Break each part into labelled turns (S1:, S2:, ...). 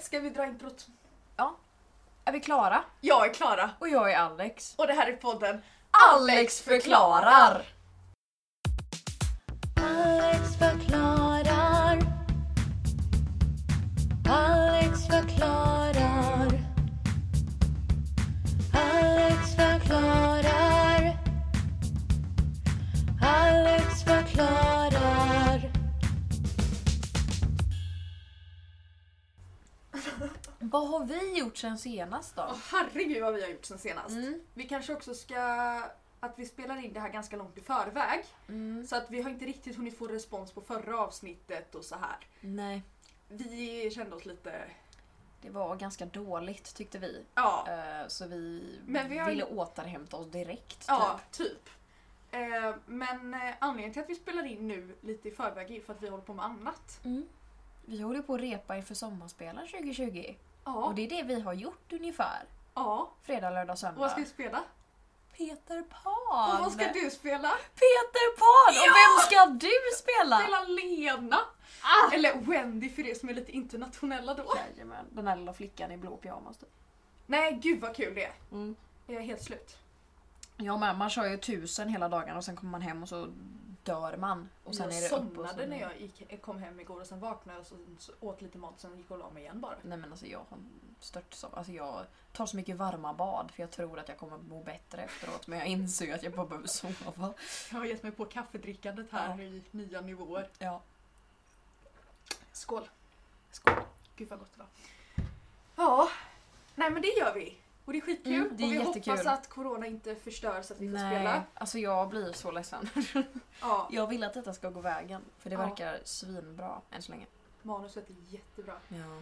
S1: Ska vi dra introt?
S2: Är vi klara?
S1: Jag är Klara
S2: Och jag är Alex.
S1: och det här är podden
S2: Alex förklarar!
S3: Alex förklarar. Alex förklarar. Alex förklarar. Alex förklarar.
S2: Vad har vi gjort sen senast
S1: Åh
S2: då?
S1: herregud vad vi har gjort sen senast.
S2: Mm.
S1: Vi kanske också ska att vi spelar in det här ganska långt i förväg.
S2: Mm.
S1: Så att vi har inte riktigt hunnit få respons på förra avsnittet och så här.
S2: Nej,
S1: Vi kände oss lite...
S2: det var ganska dåligt tyckte vi.
S1: Ja,
S2: Eh, Så vi,
S1: Men vi har-
S2: ville återhämta oss direkt.
S1: ja
S2: typ.
S1: typ. Eh, Men eh, anledningen till att vi spelar in nu lite i förväg är ju för att vi håller på med annat.
S2: Mm. Vi håller på att repa inför sommarspelaren 2020.
S1: Ja,
S2: Och det är det vi har gjort ungefär.
S1: ja.
S2: Fredag, lördag,
S1: Och
S2: söndag.
S1: vad ska vi spela?
S2: Peter Pan!
S1: Och vad ska du spela?
S2: Peter Pan!
S1: Ja!
S2: Och vem ska du spela?
S1: Spela Lena!
S2: Ah.
S1: Eller Wendy för er som är lite internationella då.
S2: Jajamän, den där lilla flickan i blå pyjamas typ.
S1: Nej gud vad kul det är.
S2: Mm.
S1: Jag är helt slut.
S2: Ja men man kör ju tusen hela dagen och sen kommer man hem och så dör man. Och sen
S1: jag
S2: är det upp och
S1: somnade
S2: sen...
S1: när jag gick, kom hem igår och sen vaknade jag och sen så åt lite mat och sen gick jag och la mig igen bara.
S2: Nej men alltså jag har stört Alltså jag tar så mycket varma bad för jag tror att jag kommer må bättre efteråt men jag inser ju att jag bara behöver sova.
S1: Jag har gett mig på kaffedrickandet här i nya nivåer.
S2: Ja.
S1: Skål!
S2: Skål.
S1: Gud vad gott det var. Ja, nej men det gör vi. Och det är skitkul.
S2: Mm, det är
S1: och vi
S2: jättekul.
S1: hoppas att corona inte förstör så att vi får
S2: Nej,
S1: spela.
S2: alltså jag blir så ledsen.
S1: Ja,
S2: Jag vill att detta ska gå vägen för det
S1: Ja.
S2: verkar svinbra än så länge.
S1: manuset är jättebra.
S2: Ja.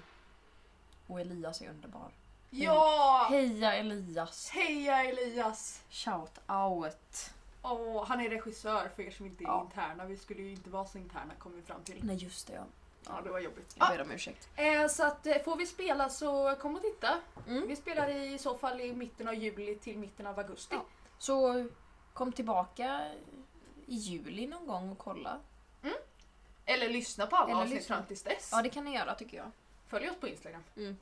S2: Och Elias är underbar.
S1: Ja!
S2: Heja Elias!
S1: Heja Elias!
S2: Shout out!
S1: Åh, han är regissör för er som inte är
S2: Ja. Mm.
S1: interna. Vi skulle ju inte vara så interna kom vi fram till.
S2: Nej just det ja.
S1: Ja, det var jobbigt.
S2: Jag ber om ursäkt.
S1: Ah, eh, så att eh, får vi spela så kom och titta.
S2: Mm.
S1: Vi spelar i så fall i mitten av juli till mitten av augusti.
S2: Ja. Så kom tillbaka i juli någon gång och kolla.
S1: Eller lyssna på alla
S2: Eller
S1: avsnitt
S2: lyssna.
S1: fram tills dess.
S2: Ja det kan ni göra tycker jag.
S1: Följ oss på Instagram.
S2: Mm.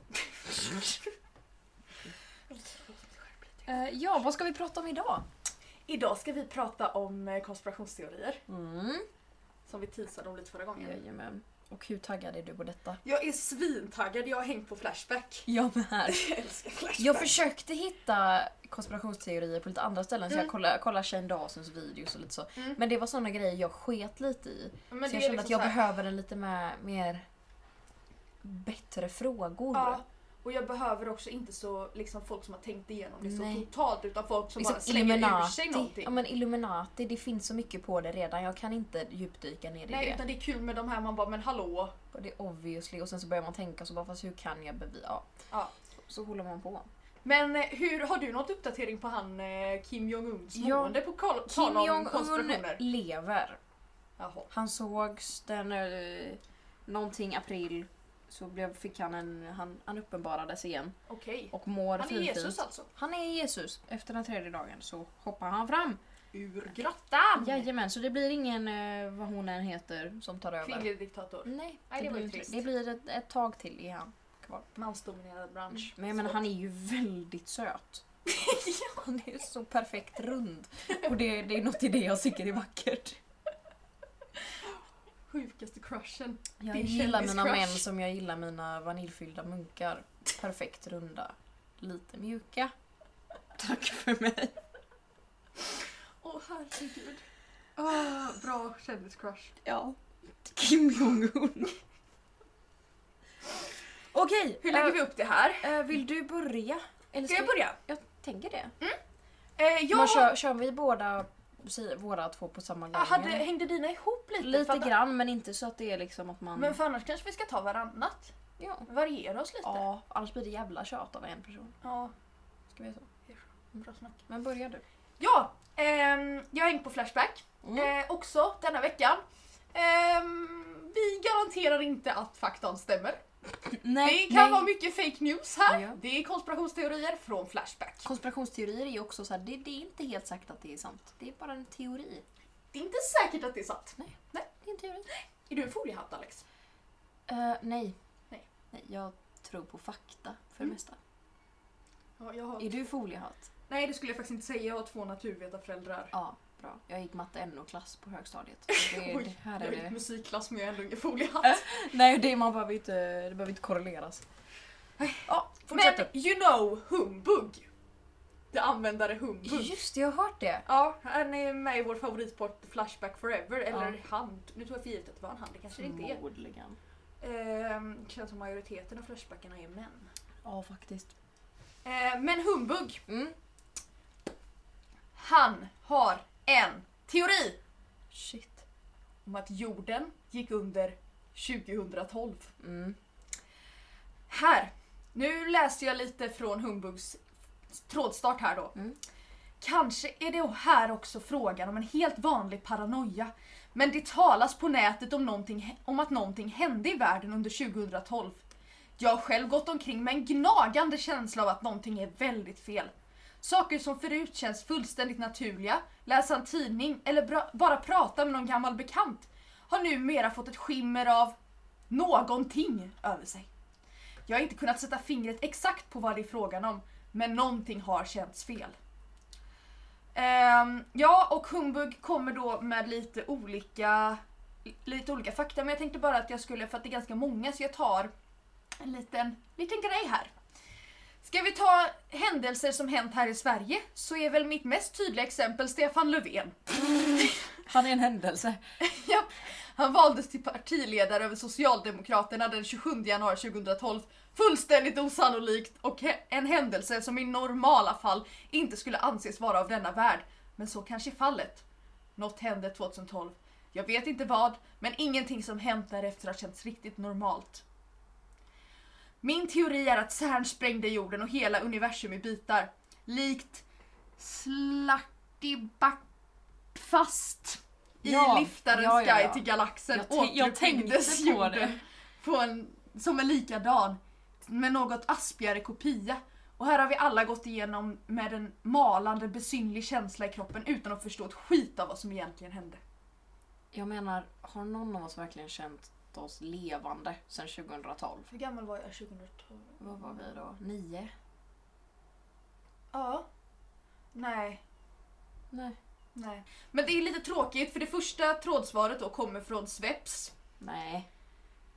S2: ja, vad ska vi prata om idag?
S1: Idag ska vi prata om eh, konspirationsteorier
S2: Mm.
S1: som vi teasade om lite förra gången.
S2: Jajamän. Och hur taggad är du på detta?
S1: Jag är svintaggad, jag har hängt på Flashback.
S2: Jag med.
S1: Jag älskar Flashback.
S2: Jag försökte hitta konspirationsteorier på lite andra ställen så
S1: Mm.
S2: jag kollade, kollade Shane Dawsons videos och lite så.
S1: Mm.
S2: Men det var såna grejer jag sket lite i.
S1: Men
S2: så jag
S1: är
S2: kände
S1: liksom
S2: att jag
S1: så här-
S2: behöver en lite mer, mer bättre frågor.
S1: Ja, och jag behöver också inte så liksom, folk som har tänkt igenom det så
S2: Nej.
S1: totalt utan folk som
S2: Liksom
S1: bara slänger ur sig
S2: Illuminati.
S1: någonting.
S2: Ja, men Illuminati, det finns så mycket på det redan. Jag kan inte djupdyka ner i
S1: Nej,
S2: det.
S1: utan det är kul med de här man bara men hallå.
S2: Och det är obviously och sen så börjar man tänka så bara fast hur kan jag bevisa? Ja.
S1: Ja.
S2: Så håller man på.
S1: Men eh, hur, har du något uppdatering på han eh, Kim Jong-Uns
S2: Ja.
S1: mående på kal-
S2: Kim
S1: tal om
S2: Jong-Un
S1: konspirationer?
S2: lever.
S1: Jaha.
S2: Han sågs den eh, någonting april så blev, fick han en, han, han uppenbarades igen
S1: Okej.
S2: och mår
S1: Han är
S2: finfint.
S1: Jesus alltså?
S2: Han är Jesus. Efter den tredje dagen så hoppar han fram.
S1: Ur grottan!
S2: Jajamän, så det blir ingen, eh, vad hon än heter, som tar över.
S1: Fingerdiktator.
S2: Nej,
S1: Nej, det
S2: det,
S1: var ju
S2: blir, inte-
S1: trist.
S2: det blir ett, ett tag till i han kvar.
S1: Mansdominerad bransch.
S2: Mm. Men jag menar, han är ju väldigt söt. Han är så perfekt rund. Och det, det är något i det jag tycker är vackert.
S1: Sjukaste crushen.
S2: Jag
S1: Din
S2: gillar mina
S1: kändiscrush.
S2: män som jag gillar mina vaniljfyllda munkar. Perfekt runda. Lite mjuka. Tack för mig.
S1: Åh herregud.
S2: Ah,
S1: Oh, bra kändiscrush.
S2: Ja. Kim Jong-Un. Okej,
S1: Hur lägger
S2: eh,
S1: vi upp det här?
S2: eh, vill du börja? Eller
S1: Ska jag börja?
S2: Jag tänker det.
S1: Eh, jag
S2: Men
S1: har-
S2: kör, kör vi båda, si- våra två på samma gång?
S1: Ah, hade,
S2: eller?
S1: hängde dina ihop lite? För
S2: Mm. Lite
S1: att-
S2: grann men inte så att det är liksom att man...
S1: Men för annars kanske vi ska ta varannat.
S2: ja.
S1: Variera oss lite.
S2: ja, annars blir det jävla tjat av en person.
S1: Ja,
S2: Ska vi göra så?
S1: bra snack.
S2: Men börja du.
S1: Ja, ehm, jag har hängt på Flashback
S2: Mm.
S1: eh, också denna veckan. Ehm, vi garanterar inte att faktan stämmer.
S2: Nej,
S1: det kan vara mycket fake news här.
S2: Ja.
S1: Det är konspirationsteorier från Flashback.
S2: Konspirationsteorier är ju också så här, det, det är inte helt säkert att det är sant. Det är bara en teori.
S1: Det är inte säkert att det är sant.
S2: Det är en teori.
S1: Är du en foliehatt Alex?
S2: Eh, nej.
S1: Nej.
S2: nej. Jag tro på fakta för det
S1: Mm.
S2: mesta.
S1: Ja, jag har...
S2: Är du foliehatt?
S1: Nej, det skulle jag faktiskt inte säga. Jag har två naturvetarföräldrar.
S2: Ja, bra. Jag gick matte NO-klass på högstadiet. Så Det,
S1: Oj,
S2: det här är
S1: Jag gick
S2: det.
S1: musikklass men jag är ändå ingen foliehatt.
S2: Nej, det, man behöver inte, det behöver inte korreleras. Ja, fortsätt
S1: Men
S2: du.
S1: you know humbug. Det användare humbug.
S2: Just det, jag har hört det.
S1: Ja, han är med i vår favoritport Flashback Forever, eller
S2: Ja.
S1: han. Nu tog jag för givet att det var en han, det kanske det inte är.
S2: Förmodligen.
S1: Ehm, känns som majoriteten av Flashbackarna är män.
S2: Ja, faktiskt.
S1: Ehm, men Humbug,
S2: Mm.
S1: han har en teori
S2: Shit.
S1: om att jorden gick under 2012.
S2: Mm.
S1: Här! Nu läser jag lite från Humbugs trådstart här då.
S2: Mm.
S1: Kanske är det här också frågan om en helt vanlig paranoia. Men det talas på nätet om, någonting, om att någonting hände i världen under 2012. Jag har själv gått omkring med en gnagande känsla av att någonting är väldigt fel. Saker som förut känns fullständigt naturliga, läsa en tidning eller bra, bara prata med någon gammal bekant har numera fått ett skimmer av någonting över sig. Jag har inte kunnat sätta fingret exakt på vad det är frågan om, men någonting har känts fel. Ehm, ja, och Humbug kommer då med lite olika, lite olika fakta, men jag tänkte bara att jag skulle, för att det är ganska många, så jag tar en liten, liten grej här. Ska vi ta händelser som hänt här i Sverige så är väl mitt mest tydliga exempel Stefan Löfven.
S2: Han är en händelse.
S1: Japp. Han valdes till partiledare över Socialdemokraterna den 27 januari 2012. Fullständigt osannolikt och he- en händelse som i normala fall inte skulle anses vara av denna värld. Men så kanske är fallet. Något hände 2012. Jag vet inte vad, men ingenting som hänt därefter har känts riktigt normalt. Min teori är att CERN sprängde jorden och hela universum i bitar. Likt Slartiback fast i
S2: Ja,
S1: liftarens
S2: ja, ja, ja.
S1: guide till galaxen
S2: Jag tän- jag
S1: återuppbyggdes
S2: tänkte på det.
S1: jorden på en, som en likadan med något aspigare kopia. Och här har vi alla gått igenom med en malande besynlig känsla i kroppen utan att förstå ett skit av vad som egentligen hände.
S2: Jag menar, har någon av oss verkligen känt oss levande sedan 2012?
S1: Hur gammal var jag 2012?
S2: Vad var vi då? Nio?
S1: Ja. Nej.
S2: Nej.
S1: Nej. Men det är lite tråkigt för det första trådsvaret då kommer från Sveps.
S2: Nej.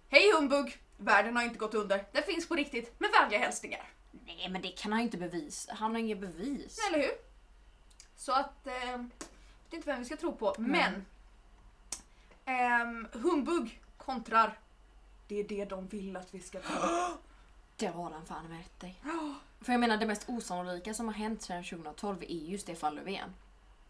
S1: Hej humbug! Världen har inte gått under. Den finns på riktigt. Med vänliga hälsningar.
S2: Nej, men det kan han inte bevisa. Han har inget bevis.
S1: Eller hur? Så att... Eh, jag vet inte vem vi ska tro på, men... ehm, humbug kontrar. Det är det de vill att vi ska tro.
S2: Det har han fan med rätt i. För jag menar, det mest osannolika som har hänt sedan 2012 är ju Stefan Löfven.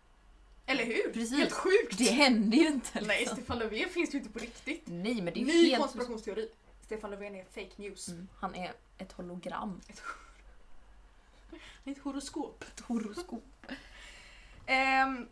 S1: Eller hur?
S2: Precis.
S1: Helt sjukt!
S2: Det hände ju inte.
S1: Nej,
S2: liksom.
S1: Stefan Löfven finns ju inte på riktigt.
S2: Nej men det är ju
S1: Ny
S2: helt...
S1: konspirationsteori. Stefan Löfven är fake news.
S2: Mm, Han är ett hologram.
S1: Ett horoskop.
S2: Ett horoskop.
S1: Ehm,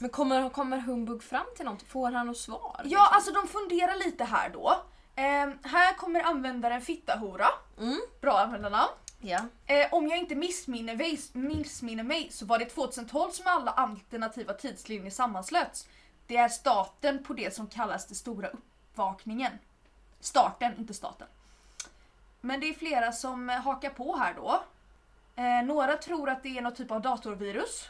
S2: Men kommer, kommer Humbug fram till något? Får han något svar?
S1: ja, alltså de funderar lite här då. Ehm, här kommer användaren Fittahora.
S2: Mm.
S1: Bra användarnamn.
S2: Ja.
S1: Eh, om jag inte missminner mig, missminner mig så var det 2012 som alla alternativa tidslinjer sammanslöts. Det är starten på det som kallas det stora uppvakningen. Starten, inte staten. Men det är flera som eh, hakar på här då. Eh, några tror att det är någon typ av datorvirus.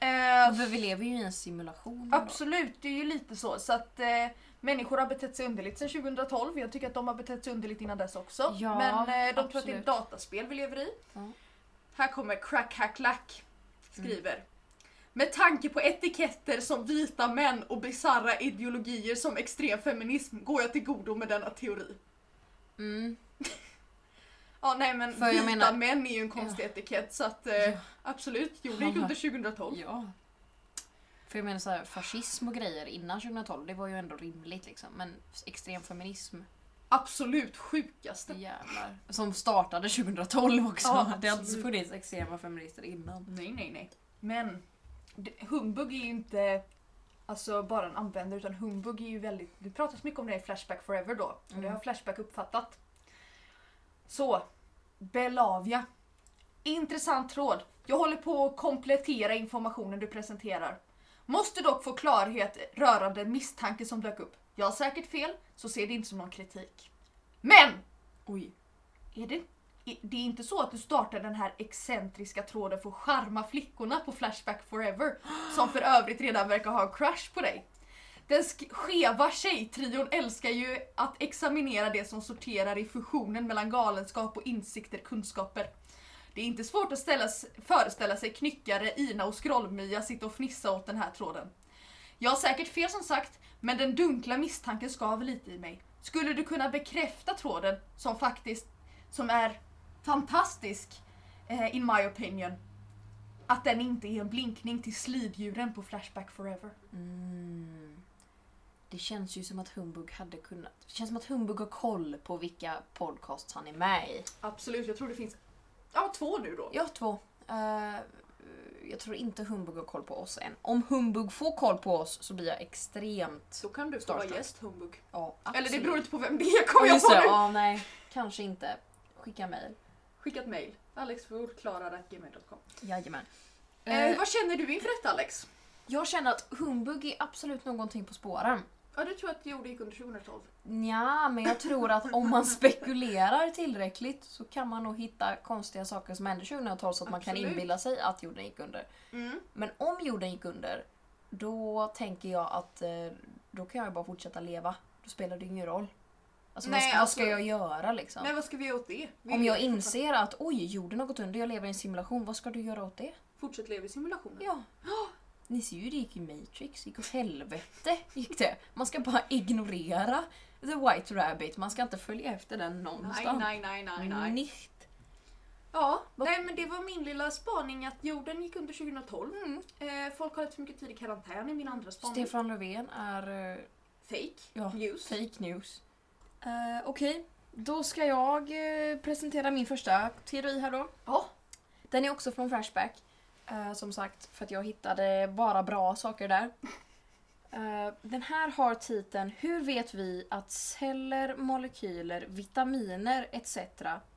S1: eh,
S2: För vi lever ju i en simulation. då.
S1: absolut, det är ju lite så. så att, eh, människor har betett sig underligt sedan 2012. Jag tycker att de har betett sig underligt innan dess också.
S2: Ja,
S1: Men eh, de tror att det är
S2: absolut.
S1: ett dataspel vi lever i.
S2: Ja.
S1: Här kommer Crack Hack Lack skriver.
S2: Mm.
S1: Med tanke på etiketter som vita män och bizarra ideologier som extrem feminism går jag till godo med denna teori.
S2: Mm.
S1: Ja nej men
S2: För jag
S1: vita
S2: menar-
S1: män är ju en konstig etikett så att eh,
S2: Ja.
S1: absolut, jo det gick under 2012.
S2: Ja. För jag menar så här, fascism och grejer innan 2012 det var ju ändå rimligt liksom. Men extrem feminism,
S1: Absolut sjukaste.
S2: jävlar. Som startade 2012 också.
S1: Ja,
S2: det har inte
S1: absolut.
S2: funnits extrema feminister innan.
S1: Nej nej nej. Men det, humbug är ju inte alltså bara en användare utan humbug är ju väldigt, det pratas mycket om det i Flashback Forever då och det
S2: Mm.
S1: har Flashback uppfattat. Så, Belavia. Intressant tråd. Jag håller på att komplettera informationen du presenterar. Måste dock få klarhet rörande en misstanke som dök upp. Jag har säkert fel, så ser det inte som någon kritik. Men!
S2: Oj.
S1: Är det, i- det är inte så att du startar den här excentriska tråden för att charma flickorna på Flashback Forever, som för övrigt redan verkar ha en crush på dig. Den sk- skeva tjejtrion älskar ju att examinera det som sorterar i fusionen mellan galenskap och insikter, kunskaper. Det är inte svårt att ställa, s- föreställa sig knyckare, Ina och Skrollmya sitta och fnissa åt den här tråden. Jag har säkert fel som sagt, men den dunkla misstanken skaver lite i mig. Skulle du kunna bekräfta tråden som faktiskt, som är fantastisk, eh, in my opinion, att den inte är en blinkning till sliddjuren på Flashback Forever?
S2: Mm. Det känns ju som att Humbug hade kunnat... Det känns som att Humbug har koll på vilka podcasts han är med i.
S1: Absolut, jag tror det finns ja, två nu då.
S2: Jag har två. Eh, jag tror inte Humbug har koll på oss än. Om Humbug får koll på oss så blir jag extremt...
S1: Så kan du få
S2: Starstruck.
S1: vara gäst, Humbug.
S2: Ja,
S1: Eller det
S2: absolut.
S1: beror inte på vem det är, kom jag
S2: Just
S1: på
S2: det,
S1: nu.
S2: ja, nej. Kanske inte. Skicka mejl.
S1: Skicka ett mejl. alexforklara.gmail.com
S2: Jajamän.
S1: eh,
S2: Eh,
S1: Vad känner du inför detta Alex?
S2: jag känner att Humbug är absolut någonting på spåren.
S1: Ja, du tror att jag gjorde gick under 2012?
S2: Nja, men jag tror att om man spekulerar tillräckligt så kan man nog hitta konstiga saker som hände 2012 så att man kan
S1: Absolut.
S2: inbilla sig att jorden gick under.
S1: Mm.
S2: Men om jorden gick under, då tänker jag att eh, då kan jag ju bara fortsätta leva. Då spelar det ingen roll. Alltså, vad,
S1: Nej,
S2: ska, vad
S1: alltså-
S2: ska jag göra liksom?
S1: Nej, vad ska vi göra åt det? Vi
S2: om jag
S1: lever
S2: inser att oj, jorden har gått under, jag lever i en simulation, vad ska du göra åt det?
S1: fortfar- Fortsätt leva i simulationen.
S2: Ja. Ni ser ju, det gick i Matrix, gick åt helvete. Gick det. Man ska bara ignorera The White Rabbit, man ska inte följa efter den
S1: Nej,
S2: någonstans. Mm,
S1: nej, nej, nej, nej.
S2: Nicht.
S1: Ja, nej men det var min lilla spaning att jorden gick under 2012. Eh, folk har lite för mycket tid i karantän i min andra spaning.
S2: Stefan Löfven är eh,
S1: Fake
S2: Ja,
S1: news.
S2: fake news. Eh, Okej, då ska jag eh, presentera min första teori här då.
S1: Ja.
S2: Den är också från Flashback. eh, som sagt, för att jag hittade bara bra saker där. Eh, den här har titeln Hur vet vi att celler, molekyler, vitaminer etc.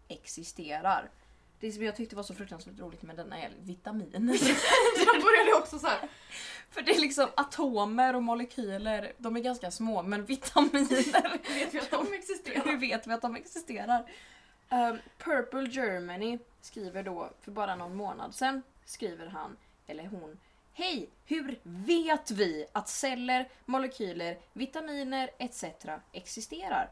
S2: existerar? Det som jag tyckte var så fruktansvärt roligt med denna är vitaminer.
S1: Jag började också så här.
S2: För det är liksom atomer och molekyler, de är ganska små, men vitaminer
S1: vet vi att de existerar?
S2: hur vet vi att de existerar? Ehm, Purple Germany skriver då, för bara någon månad sedan, skriver han, eller hon, Hej! Hur vet vi att celler, molekyler, vitaminer etc. existerar?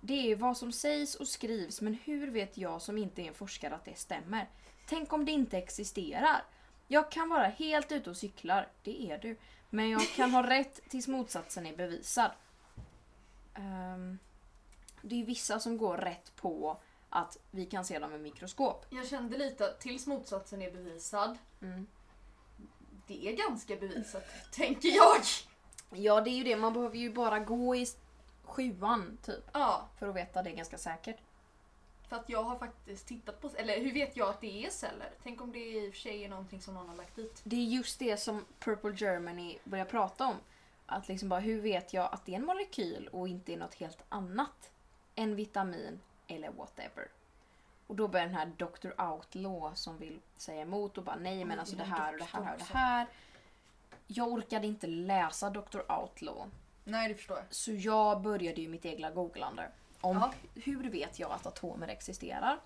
S2: Det är vad som sägs och skrivs, men hur vet jag som inte är en forskare att det stämmer? Tänk om det inte existerar? Jag kan vara helt ute och cyklar, det är du, men jag kan ha rätt tills motsatsen är bevisad. Ehm, det är ju vissa som går rätt på att vi kan se dem med mikroskop.
S1: Jag kände lite att tills motsatsen är bevisad.
S2: Mm.
S1: Det är ganska bevisat, tänker jag.
S2: Ja, det är ju det. Man behöver ju bara gå i s- sjuan typ
S1: Ja,
S2: för att veta det ganska säkert.
S1: för att jag har faktiskt tittat på... Eller hur vet jag att det är celler? Tänk om det i och för sig är någonting som någon har lagt dit.
S2: Det är just det som Purple Germany börjar prata om. Att liksom bara, hur vet jag att det är en molekyl och inte är något helt annat? En vitamin eller whatever. Och då börjar den här Dr. Outlaw som vill säga emot och bara nej men alltså det här och det här och det här. Jag orkade inte läsa Dr. Outlaw.
S1: Nej, det förstår jag.
S2: Så jag började ju mitt egna googlande. Om
S1: Ja.
S2: hur vet jag att atomer existerar?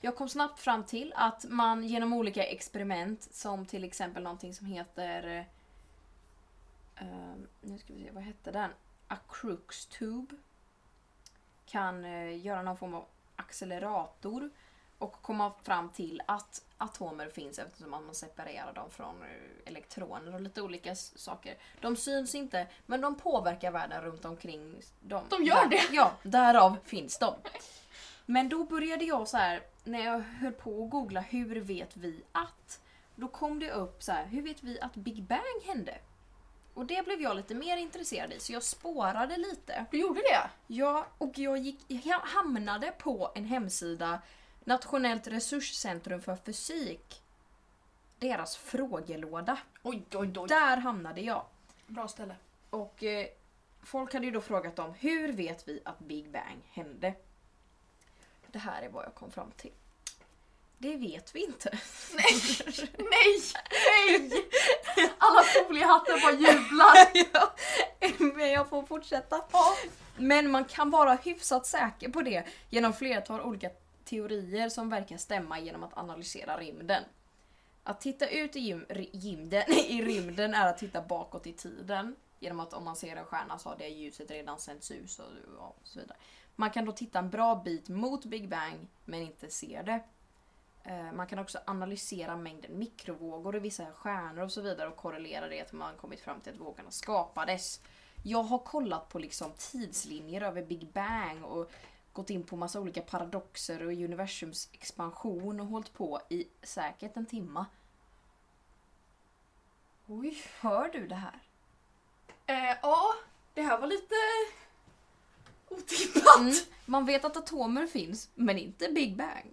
S2: Jag kom snabbt fram till att man genom olika experiment som till exempel någonting som heter... eh, nu ska vi se, vad hette den? A Crookes tube. Kan eh, göra någon form av accelerator och komma fram till att atomer finns eftersom att man separerar dem från eh, elektroner och lite olika s- saker. De syns inte, men de påverkar världen runt omkring dem.
S1: De gör
S2: Där-
S1: det.
S2: Ja, därav finns de. Men då började jag så här, när jag höll på att googla hur vet vi att? Då kom det upp så här, hur vet vi att Big Bang hände? Och det blev jag lite mer intresserad i, så jag spårade lite.
S1: Du gjorde det?
S2: Ja, och jag, gick, jag hamnade på en hemsida, Nationellt resurscentrum för fysik. Deras frågelåda.
S1: Oj, oj, oj.
S2: Där hamnade jag.
S1: Bra ställe.
S2: Och eh, folk hade ju då frågat dem, hur vet vi att Big Bang hände? Det här är vad jag kom fram till. Det vet vi inte.
S1: Nej! Nej! Alla foliehattar bara jublar.
S2: Men jag får fortsätta. Men man kan vara hyfsat säker på det genom flertal olika teorier som verkar stämma genom att analysera rymden. Att titta ut i, gym, ry- gymden, i rymden är att titta bakåt i tiden. Genom att om man ser en stjärna så har det ljuset redan sänts ut och ja, så vidare. Man kan då titta en bra bit mot Big Bang men inte se det. Eh, Man kan också analysera mängden mikrovågor i vissa stjärnor och så vidare och korrelera det till man kommit fram till att vågorna skapades. Jag har kollat på liksom tidslinjer över Big Bang och gått in på massa olika paradoxer och universums expansion och hållit på i säkert en timma.
S1: Oj.
S2: Hör du det här?
S1: Eh, ja, det här var lite otippat.
S2: Mm. Man vet att atomer finns, men inte Big Bang.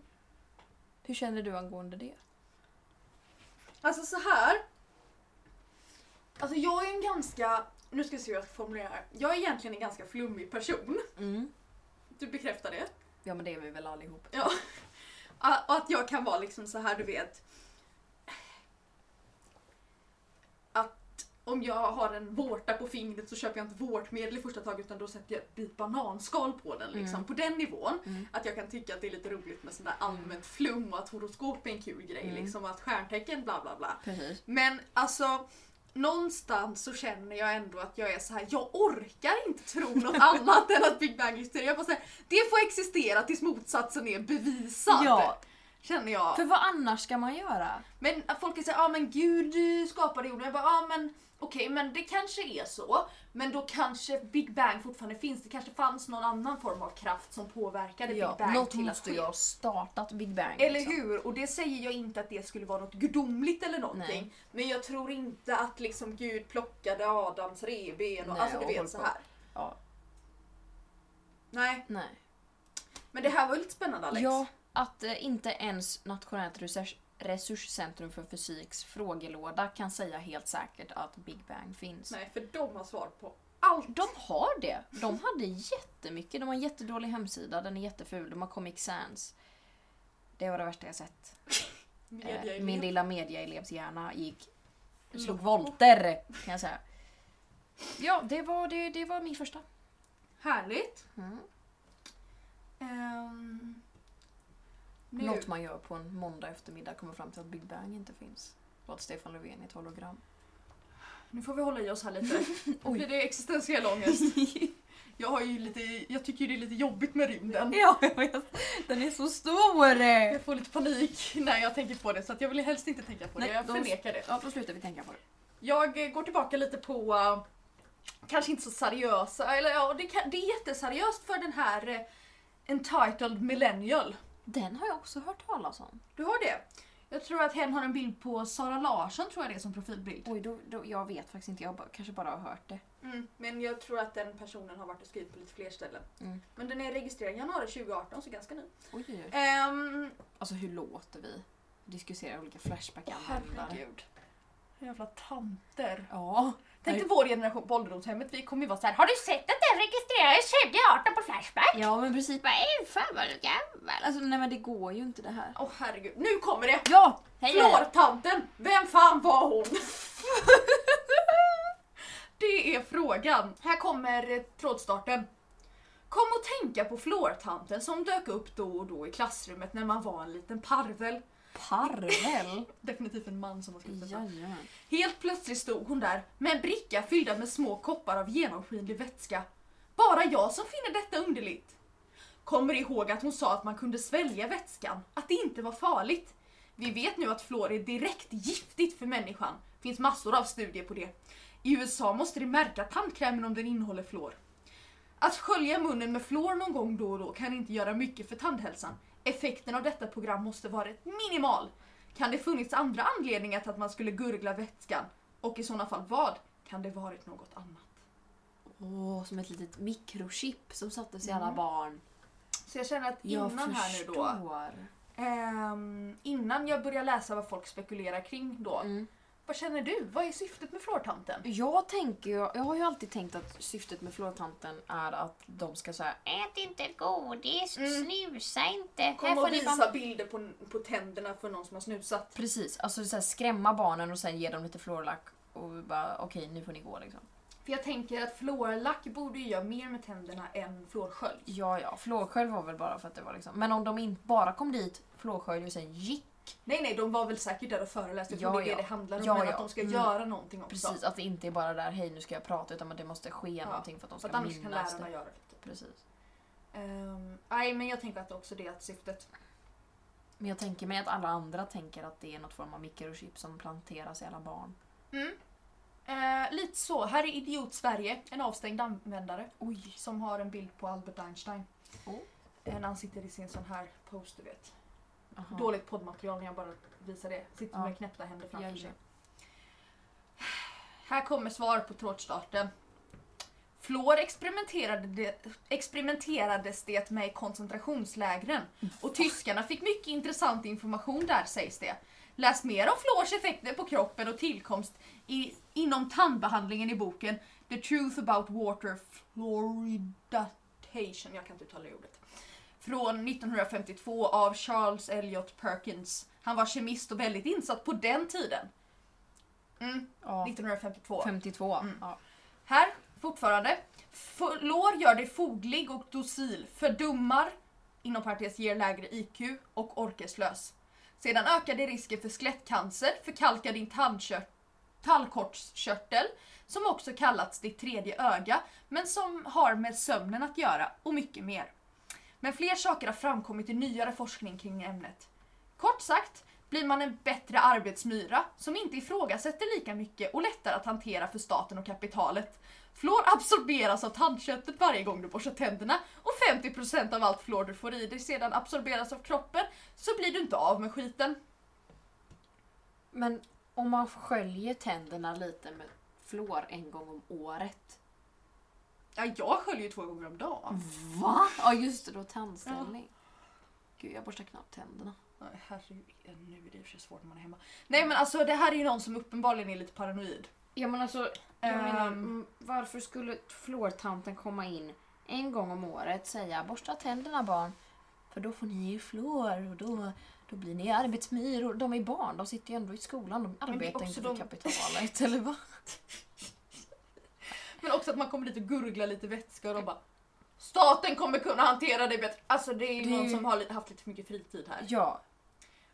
S2: Hur känner du angående det?
S1: Alltså så här. Alltså jag är en ganska, nu ska vi se hur jag ska formulera det här. Jag är egentligen en ganska flummig person.
S2: Mm.
S1: Du bekräftar det.
S2: Ja men det är vi väl allihop.
S1: Ja. A- Och att jag kan vara liksom så här, du vet. Att om jag har en vårta på fingret så köper jag inte vårtmedel i första taget utan då sätter jag ett bit bananskal på den. Liksom,
S2: Mm.
S1: På den nivån.
S2: Mm.
S1: Att jag kan tycka att det är lite roligt med sån där allmänt flum och att horoskop är en kul grej.
S2: Mm.
S1: Liksom, och att stjärntecken bla bla bla.
S2: Precis.
S1: Men alltså någonstans så känner jag ändå att jag är så här. jag orkar inte tro något annat än att Big Bang existerar. Jag bara så här, det får existera tills motsatsen är bevisad.
S2: Ja.
S1: Känner jag.
S2: För vad annars ska man göra?
S1: Men att folk är såhär, ja ah, men gud eh, skapade jorden. Jag bara, ja ah, men okej men det kanske är så. Men då kanske Big Bang fortfarande finns. Det kanske fanns någon annan form av kraft som påverkade Big Bang
S2: något
S1: till
S2: måste
S1: att
S2: ju
S1: ske.
S2: ha startat Big Bang.
S1: Eller
S2: liksom.
S1: hur? Och det säger jag inte att det skulle vara något gudomligt eller någonting. Men jag tror inte att liksom Gud plockade Adams revben och
S2: Nej,
S1: alltså du
S2: och håll
S1: vet så
S2: på.
S1: här.
S2: Ja,
S1: Nej,
S2: nej.
S1: men det här var ju lite spännande Alex.
S2: Ja, att eh, inte ens Nationellt resurs- resurscentrum för fysiks frågelåda kan säga helt säkert att Big Bang finns.
S1: Nej, för de har svar på allt.
S2: De har det. De hade jättemycket. De har en jättedålig hemsida, den är jätteful. De har Comic Sans. Det var det värsta jag sett. Eh,
S1: Media
S2: Min lilla mediaelevshjärna gick... Slog
S1: Loco.
S2: volter, kan jag säga. Ja, det var, det, det var min första.
S1: Härligt.
S2: Mm.
S1: Ehm, nu.
S2: Något man gör på en måndag eftermiddag kommer fram till att Big Bang inte finns. Och att Stefan Löfven är ett hologram.
S1: nu får vi hålla i oss här lite.
S2: Oj.
S1: Blir det är existentiell ångest. Jag, har ju lite, jag tycker ju det är lite jobbigt med rymden.
S2: Ja, jag vet. Den är så stor!
S1: Jag får lite panik när jag tänker på det så att jag vill helst inte tänka på det.
S2: Nej,
S1: jag
S2: då-
S1: förnekar det.
S2: Ja, då slutar vi tänka på det.
S1: Jag eh, går tillbaka lite på eh, kanske inte så seriösa, eller ja, det, kan, det är jätteseriöst för den här eh, Entitled Millennial.
S2: Den har jag också hört talas om.
S1: Du har det? Jag tror att hen har en bild på Sara Larsson tror jag det är som profilbild.
S2: Oj, då, då, jag vet faktiskt inte. Jag har bara- kanske bara har hört det.
S1: Mm, men jag tror att den personen har varit och skrivit på lite fler ställen.
S2: Mm.
S1: Men den är registrerad i januari 2018 så ganska ny.
S2: Oj, oj, oj.
S1: Ehm,
S2: Alltså hur låter vi? Diskutera olika flashback-användare.
S1: herregud. Jävla tanter.
S2: Ja.
S1: Tänk
S2: Nej.
S1: dig vår generation på ålderdomshemmet, vi kommer ju vara såhär Har du sett att den registrerades 2018 på Flashback?
S2: Ja men precis bara "Ey, fan vad gammal. Alltså nej men det går ju inte det här.
S1: Åh herregud, nu kommer det!
S2: Ja!
S1: Flortanten, vem fan var hon? Det är frågan. Här kommer eh, trådstarten. Kom att tänka på flortanten som dök upp då och då i klassrummet när man var en liten parvel.
S2: Parvel?
S1: Definitivt en man som har skrivit detta.
S2: Jajamän.
S1: Helt plötsligt stod hon där med en bricka fyllda med små koppar av genomskinlig vätska. Bara jag som finner detta underligt. Kommer ihåg att hon sa att man kunde svälja vätskan, att det inte var farligt. Vi vet nu att fluor är direkt giftigt för människan. Finns massor av studier på det. I USA måste de märka tandkrämen om den innehåller fluor. Att skölja munnen med fluor någon gång då och då kan inte göra mycket för tandhälsan. Effekten av detta program måste vara minimal. Kan det funnits andra anledningar till att man skulle gurgla vätskan? Och i sådana fall vad? Kan det varit något annat?
S2: Åh, som ett litet mikrochip som sattes i alla
S1: Mm.
S2: barn.
S1: Så jag känner att
S2: Jag
S1: innan här nu
S2: förstår.
S1: då, ehm, innan jag börjar läsa vad folk spekulerar kring då.
S2: Mm.
S1: Vad känner du? Vad är syftet med flortanten?
S2: Jag tänker ju, jag har ju alltid tänkt att syftet med flortanten är att de ska säga Ät inte godis,
S1: Mm.
S2: snusa inte.
S1: Kom och
S2: ni
S1: visa
S2: bara-"
S1: bilder på, på tänderna för någon som har snusat.
S2: Precis, alltså så här, skrämma barnen och sen ge dem lite florlack och bara okej nu får ni gå liksom.
S1: För jag tänker att fluorlack borde ju göra mer med tänderna än fluorskölj.
S2: Ja, ja. Fluorskölj var väl bara för att det var liksom... Men om de inte bara kom dit, fluorskölj och sen gick.
S1: Nej nej, de var väl säkert där och föreläste. Jag tror det
S2: Ja,
S1: är
S2: ja.
S1: det det handlar om.
S2: Ja,
S1: men
S2: ja.
S1: att de ska
S2: Mm.
S1: göra någonting också.
S2: Precis, att det inte är bara där hej nu ska jag prata utan att det måste ske
S1: Ja,
S2: någonting för att de
S1: För
S2: ska
S1: att annars kan
S2: minnas
S1: lärarna
S2: det.
S1: göra det.
S2: Precis.
S1: Ehm, Nej men jag tänker att det också det är syftet.
S2: Men jag tänker mig att alla andra tänker att det är något form av mikrochip som planteras i alla barn.
S1: Mm. Eh, lite så. Här är Idiot Sverige, en avstängd användare
S2: Oj!
S1: som har en bild på Albert Einstein.
S2: Oh.
S1: Eh, När han sitter i sin sån här pose, du vet.
S2: Aha.
S1: Dåligt poddmaterial när jag bara visar det. Sitter
S2: Ja.
S1: med knäppta händer framför sig.
S2: Jajamän.
S1: Här kommer svar på trådstarten. Fluor experimenterade det, experimenterades det med i koncentrationslägren
S2: Mm,
S1: och tyskarna fick mycket intressant information där sägs det. Läs mer om fluors effekter på kroppen och tillkomst i, inom tandbehandlingen i boken The Truth About Water Fluoridation, jag kan inte uttala det ordet, från 1952 av Charles Elliot Perkins. Han var kemist och väldigt insatt på den tiden. Mm,
S2: Ja,
S1: 1952.
S2: 52.
S1: Mm.
S2: Ja.
S1: Här, fortfarande. Lår gör dig foglig och docil, fördummar, inom parentes ger lägre IQ och orkeslös. Sedan ökar det risken för skelettcancer, förkalkar din tandkört, tallkortskörtel, som också kallats ditt tredje öga, men som har med sömnen att göra, och mycket mer. Men fler saker har framkommit i nyare forskning kring ämnet. Kort sagt blir man en bättre arbetsmyra som inte ifrågasätter lika mycket och lättare att hantera för staten och kapitalet. Fluor absorberas av tandköttet varje gång du borstar tänderna och 50% av allt fluor du får i dig sedan absorberas av kroppen så blir du inte av med skiten.
S2: Men om man sköljer tänderna lite med fluor en gång om året.
S1: Ja, jag sköljer ju två gånger om dagen.
S2: Va? Ja just det, då tandställning. Gud, jag borstar knappt tänderna.
S1: Nej, Herregud, nu är det i och för sig svårt när man är hemma. Nej men alltså det här är ju någon som uppenbarligen är lite paranoid. Ehm,
S2: Ja men alltså,
S1: jag menar,
S2: varför skulle fluortanten komma in en gång om året säga borsta tänderna barn. För då får ni ju fluor och då, då blir ni arbetsmyror. De är barn, de sitter ju ändå i skolan. De
S1: det är
S2: arbetar
S1: också
S2: inte
S1: de-
S2: för kapitalet eller vad?
S1: Men också att man kommer dit och gurglar lite vätska och de bara Staten kommer kunna hantera det bättre. Alltså det är ju
S2: Det är
S1: någon
S2: ju-
S1: som har li- haft lite för mycket fritid här.
S2: Ja,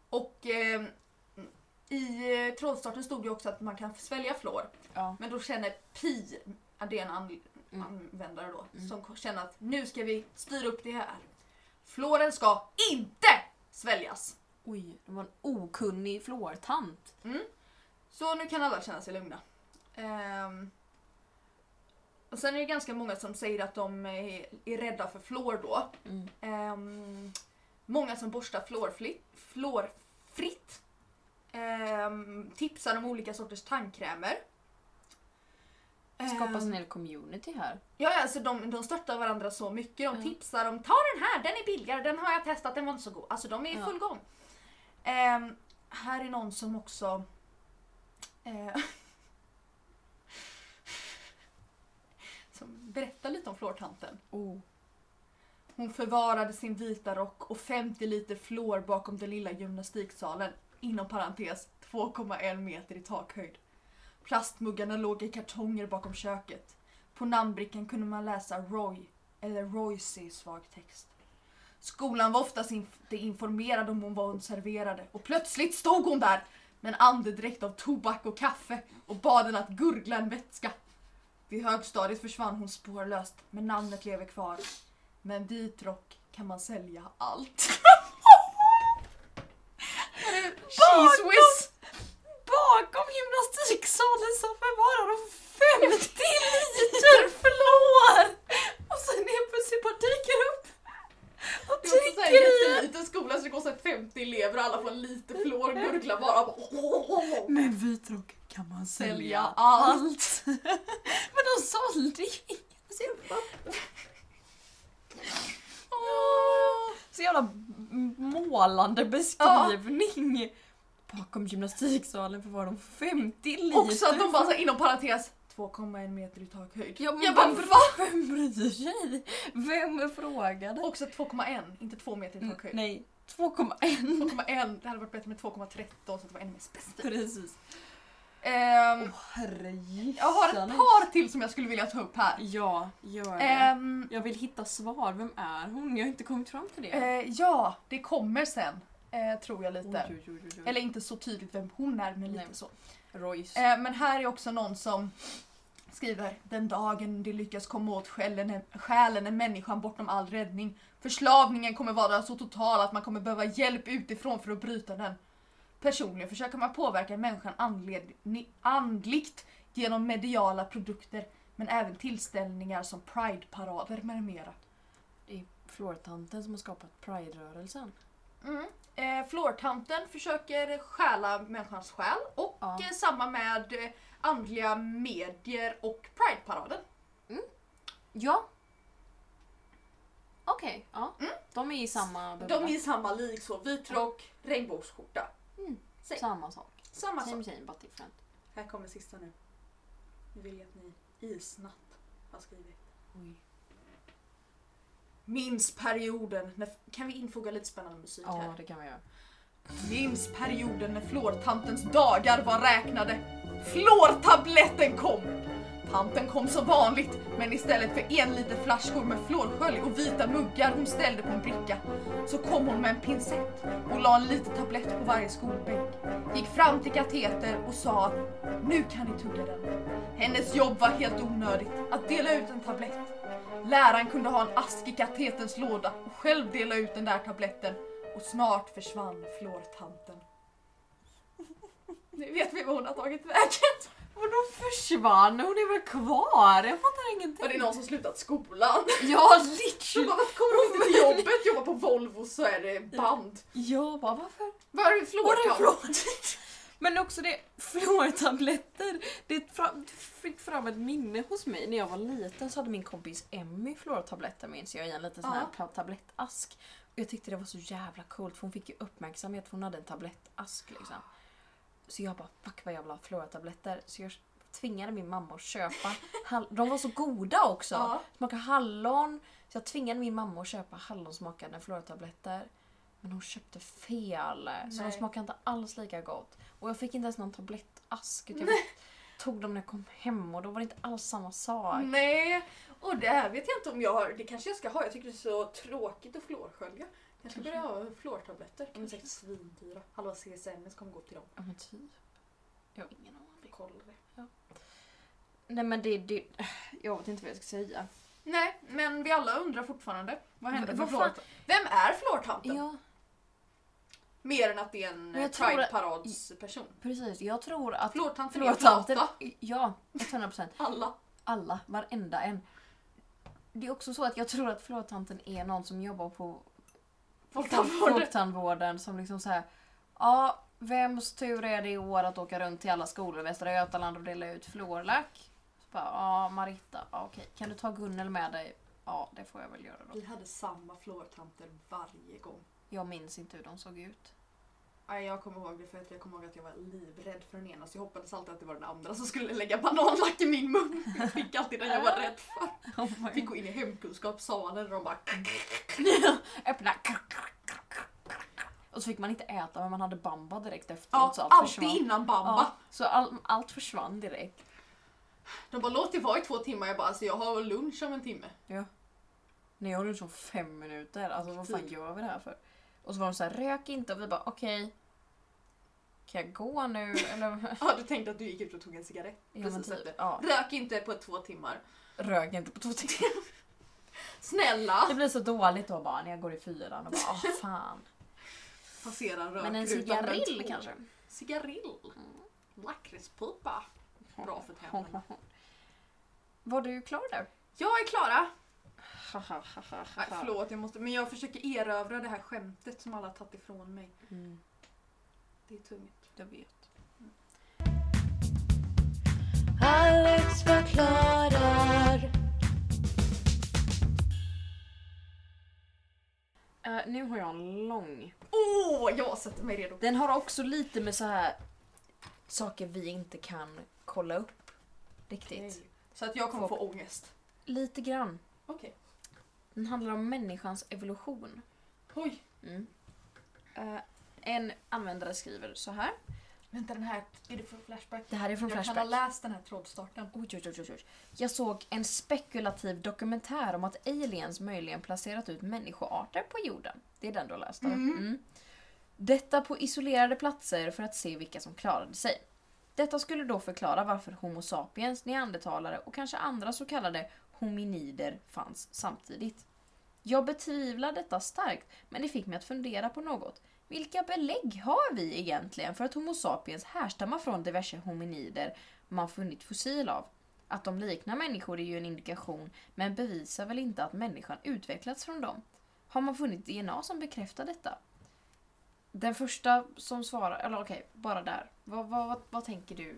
S1: Och eh, i eh, trådstarten stod det också att man kan svälja fluor.
S2: ja.
S1: Men då känner Pi, ja, det är en an-
S2: Mm.
S1: användare då,
S2: Mm.
S1: som känner att nu ska vi styra upp det här. Fluoren ska INTE sväljas!
S2: Oj, det var en okunnig fluortant.
S1: Så nu kan alla känna sig lugna. Ehm, och sen är det ganska många som säger att de är, är rädda för fluor då.
S2: Mm.
S1: Ehm, många som borstar fluorfli- fluorfritt. Ehm, tipsar om olika sorters tandkrämer.
S2: Skapas
S1: Ehm,
S2: en hel community här.
S1: Ja, ja, alltså de, de stöttar varandra så mycket. De
S2: Ja.
S1: tipsar om ta den här, den är billigare, den har jag testat, den var inte så god. Alltså de är i
S2: Ja.
S1: full gång. Ehm, här är någon som också... eh, som berättar lite om fluortanten.
S2: Oh.
S1: Hon förvarade sin vita rock och 50 liter fluor bakom den lilla gymnastiksalen, inom parentes 2,1 meter i takhöjd. Plastmuggarna låg i kartonger bakom köket. På namnbrickan kunde man läsa Roy, eller Royce i svag text. Skolan var oftast inte informerad om hon var observerade och plötsligt stod hon där med en andedräkt av tobak och kaffe och bad den att gurgla en vätska. Vid högstadiet försvann hon spårlöst, men namnet lever kvar. Med en vit rock kan man sälja allt.
S2: Cheese
S1: Bakom-
S2: whiz! Bakom gymnastiksalen så förvarar de 50 liter fluor! Och sen helt plötsligt bara dyker upp och
S1: Det är också
S2: dricker
S1: en
S2: i en.
S1: jätteliten skola så det går så här 50 elever och alla får lite fluor och gurglar bara.
S2: Med vitrock kan man
S1: Sälja
S2: sälja
S1: allt.
S2: allt. Men de sålde ju inget.
S1: Åh.
S2: Så jävla m- målande beskrivning. Bakom gymnastiksalen förvarar de 50 liter.
S1: Också att de bara så här, inom parentes 2,1 meter i takhöjd.
S2: Ja, men
S1: Jag bara
S2: vem-
S1: va?
S2: Vem bryr sig? Vem frågade?
S1: Också 2,1, inte 2 meter i takhöjd.
S2: Mm, Nej, 2,1.
S1: 2,1, det hade varit bättre med 2,13 så att det var ännu mer specifikt.
S2: Precis.
S1: Ehm,
S2: herregissanes.
S1: jag har ett par till som jag skulle vilja ta upp här.
S2: Ja, gör det.
S1: Ehm,
S2: Jag vill hitta svar. Vem är hon? Jag har inte kommit fram till det.
S1: eh, ja, det kommer sen. eh, tror jag
S2: Oj,
S1: lite.
S2: oj, oj, oj, oj.
S1: Eller inte så tydligt vem hon är, men lite
S2: Nej.
S1: så.
S2: Royce.
S1: Eh, men här är också någon som skriver Den dagen de lyckas komma åt själen, själen är människan bortom all räddning. Förslavningen kommer vara så total att man kommer behöva hjälp utifrån för att bryta den. Personligen försöker man påverka människan andled, ni- andligt genom mediala produkter men även tillställningar som prideparader med mera.
S2: Det är flortanten som har skapat Pride-rörelsen.
S1: Mm. Eh, Flortanten försöker stjäla människans själ och
S2: Ja.
S1: eh, samma med eh, andliga medier och prideparaden.
S2: Ja. Okej, ja. De är i samma
S1: Mm. De
S2: bubbla.
S1: är i samma lik så, vit rock, regnbågsskjorta. sig.
S2: Samma sak.
S1: Samma
S2: Same
S1: sak.
S2: same but different.
S1: Här kommer sista nu. Nu vill jag att ni isnabbt har skrivit.
S2: Oj.
S1: Minns perioden när... Kan vi infoga lite spännande musik
S2: Ja,
S1: här?
S2: det kan man göra.
S1: Minns perioden när flårtantens dagar var räknade. Flårtabletten kom! Tanten kom som vanligt, men istället för en liter flaskor med flårskölj och vita muggar hon ställde på en bricka så kom hon med en pincett och la en liten tablett på varje skolbänk. Gick fram till kateter och sa nu kan ni tugga den. Hennes jobb var helt onödigt, att dela ut en tablett. Läraren kunde ha en ask i katetens låda och själv dela ut den där tabletten och snart försvann flårtanten. Nu vet vi vad hon har tagit vägen.
S2: Vadå försvann? Hon är väl kvar? Jag fattar ingenting.
S1: Var det någon som slutat skolan?
S2: Ja,
S1: Så bara,
S2: literally.
S1: varför kommer hon inte till jobbet? Jobbar på Volvo så är det band.
S2: Jag bara, varför?
S1: Var är flårtanten?
S2: Men också det, fluortabletter. Det fra- fick fram ett minne hos mig. När jag var liten så hade min kompis Emmy fluortabletter minns jag i en liten sån här ta- tablettask. Och jag tyckte det var så jävla coolt för hon fick ju uppmärksamhet för hon hade en tablettask liksom. Så jag bara fuck vad jag vill ha fluortabletter. Så jag tvingade min mamma att köpa. hall- De var så goda också.
S1: Ja.
S2: Smakade hallon. Så jag tvingade min mamma att köpa hallonsmakande fluortabletter. Men hon köpte fel. Så de
S1: Nej.
S2: smakade inte alls lika gott. Och jag fick inte ens någon tablettask. Utan jag tog dem när jag kom hem och då var det inte alls samma sak.
S1: Nej, och det här vet jag inte om jag har. Det kanske jag ska ha. Jag tycker det är så tråkigt att flårskölja. Jag ska börja ha flårtabletter. De är säkert svindyra. Halva CSN kommer gå till dem.
S2: Ja men typ. Jag har ingen aning.
S1: Kolla det.
S2: Nej men det, det... Jag vet inte vad jag ska säga.
S1: Nej, men vi alla undrar fortfarande. Vad hände
S2: V-
S1: med
S2: vad fan?
S1: flårtanten? Vem är flårtanten?
S2: Ja,
S1: Mer än att det är en
S2: Men jag
S1: eh,
S2: tror att-
S1: Pride-paradsperson.
S2: precis. Jag tror att...
S1: Flårtanten är
S2: Fluortabletter-
S1: flata.
S2: Ja, 100%.
S1: Alla.
S2: alla, varenda en. Det är också så att jag tror att flåtanten är någon som jobbar på
S1: Folktandvården.
S2: folktandvården som liksom så här, ja, vems tur är det i år att åka runt till alla skolor i Västra Götaland och dela ut fluorlack? Så bara, ja, Maritta, ja, okej, kan du ta Gunnel med dig? Ja, det får jag väl göra då.
S1: Vi hade samma flårtanter varje gång.
S2: Jag minns inte hur de såg ut.
S1: Nej, jag kommer ihåg det för att jag kommer ihåg att jag var livrädd för den ena så jag hoppades alltid att det var den andra som skulle lägga bananlack i min mun. Jag fick alltid den jag var rädd för. Jag fick gå in i hemkunskapssalen och de bara...
S2: Öppna. Och så fick man inte äta men man hade bamba direkt efteråt.
S1: Ja,
S2: så allt
S1: alltid
S2: försvann.
S1: innan bamba.
S2: Ja, så all, allt försvann direkt.
S1: De bara låt det vara i två timmar. Jag bara alltså jag har lunch om en timme.
S2: När jag har lunch om fem minuter, alltså vad fan
S1: Typ.
S2: gör vi det här för? Och så var de så här, rök inte och vi bara okej. kan jag gå nu eller?
S1: Ja, du tänkte att du gick ut och tog en cigarett.
S2: ja, men
S1: Precis
S2: typ,
S1: efter.
S2: ja,
S1: Rök inte på två timmar.
S2: rök inte på två timmar.
S1: Snälla!
S2: Det blir så dåligt då bara när jag går i fyran och bara åh fan.
S1: Passera rökrutan.
S2: Men en
S1: med
S2: cigarill
S1: tå.
S2: kanske? Mm.
S1: Cigarill? Lakritspipa. Bra för tänderna.
S2: Var du klar där?
S1: Jag är Klara. Nej, förlåt, jag måste, men jag försöker erövra det här skämtet som alla har tagit ifrån mig.
S2: Mm,
S1: Det är tungt.
S2: jag vet.
S3: Alex förklarar.
S2: Eh, nu har jag en lång.
S1: Åh, jag sätter mig redo.
S2: Den har också lite med så här saker vi inte kan kolla upp riktigt.
S1: Så att jag kommer få ångest.
S2: Lite grann.
S1: Okej.
S2: Den handlar om människans evolution.
S1: Oj.
S2: Mm. Eh, en användare skriver så här.
S1: Vänta den här, är det från Flashback?
S2: Det här är från
S1: jag
S2: Flashback.
S1: kan ha läst den här trådstarten.
S2: Oj, oj, oj, oj, oj. Jag såg en spekulativ dokumentär om att aliens möjligen placerat ut människoarter på jorden. Det är den du har läst eller?
S1: Mm.
S2: Mm. Detta på isolerade platser för att se vilka som klarade sig. Detta skulle då förklara varför Homo sapiens, neandertalare och kanske andra så kallade hominider fanns samtidigt. Jag betvivlar detta starkt, men det fick mig att fundera på något. Vilka belägg har vi egentligen för att Homo sapiens härstammar från diverse hominider man funnit fossil av? Att de liknar människor är ju en indikation, men bevisar väl inte att människan utvecklats från dem? Har man funnit DNA som bekräftar detta? Den första som svarar, eller okej, bara där. Vad, vad, vad, vad tänker du?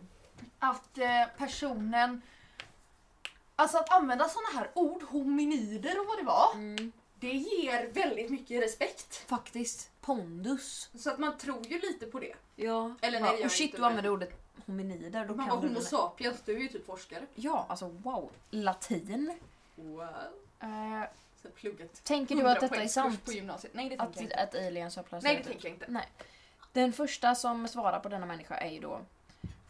S1: Att eh, personen... Alltså att använda såna här ord, hominider och vad det var,
S2: Mm.
S1: det ger väldigt mycket respekt.
S2: Faktiskt. Pondus.
S1: Så att man tror ju lite på det.
S2: Ja.
S1: Eller nej, det gör
S2: och
S1: jag
S2: shit,
S1: inte,
S2: du
S1: men-
S2: använder ordet hominider. Då
S1: Man var
S2: kan du
S1: homo
S2: den-
S1: sapiens, du är ju typ forskare.
S2: Ja, alltså wow. Latin.
S1: Wow.
S2: Eh,
S1: Så jag pluggat.
S2: tänker du att
S1: 100
S2: detta är
S1: poängskurs
S2: sant?
S1: på gymnasiet. Nej det tänker jag
S2: Att,
S1: inte.
S2: att aliens har placerat
S1: Nej det
S2: ut-
S1: tänker jag inte.
S2: Nej. Den första som svarar på denna människa är ju då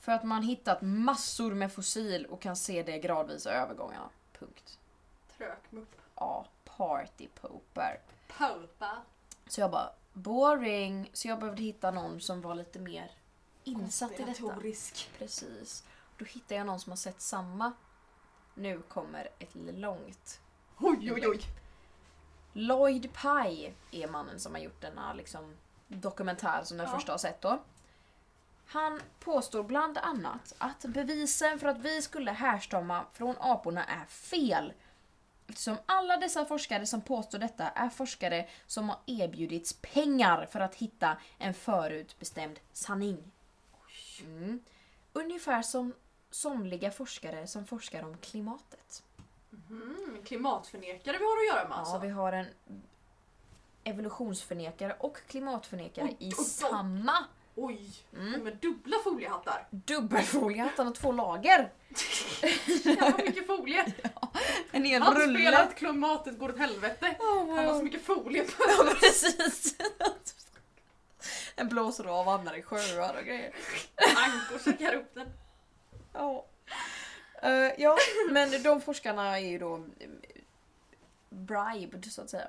S2: för att man hittat massor med fossil och kan se de gradvisa övergångarna. Punkt.
S1: Trökmupp.
S2: Ja, party poper.
S1: Paupa.
S2: Så jag bara boring. Så jag behövde hitta någon som var lite mer insatt i detta.
S1: Konspiratorisk.
S2: Precis. Då hittade jag någon som har sett samma. Nu kommer ett långt
S1: Oj oj oj.
S2: Lloyd Pye är mannen som har gjort denna liksom, dokumentär som den
S1: Ja.
S2: första har sett då. Han påstår bland annat att bevisen för att vi skulle härstamma från aporna är fel. Eftersom alla dessa forskare som påstår detta är forskare som har erbjudits pengar för att hitta en förutbestämd sanning. Mm. Ungefär som somliga forskare som forskar om klimatet.
S1: Mm, klimatförnekare vi har att göra med
S2: Ja,
S1: alltså.
S2: vi har en evolutionsförnekare och klimatförnekare
S1: Oj,
S2: i
S1: oj, oj.
S2: samma
S1: Oj,
S2: Mm.
S1: med dubbla foliehattar.
S2: dubbelfolie. Han har två lager.
S1: Jävla mycket folie.
S2: En hel
S1: Han
S2: rulle.
S1: spelar att klimatet går åt helvete.
S2: Oh,
S1: Han har så mycket folie på
S2: Ja, precis. Den blåser av och hamnar i sjöar och grejer.
S1: Ank och käkar upp den.
S2: Ja. Eh, ja, men de forskarna är ju då eh, bribed så att säga.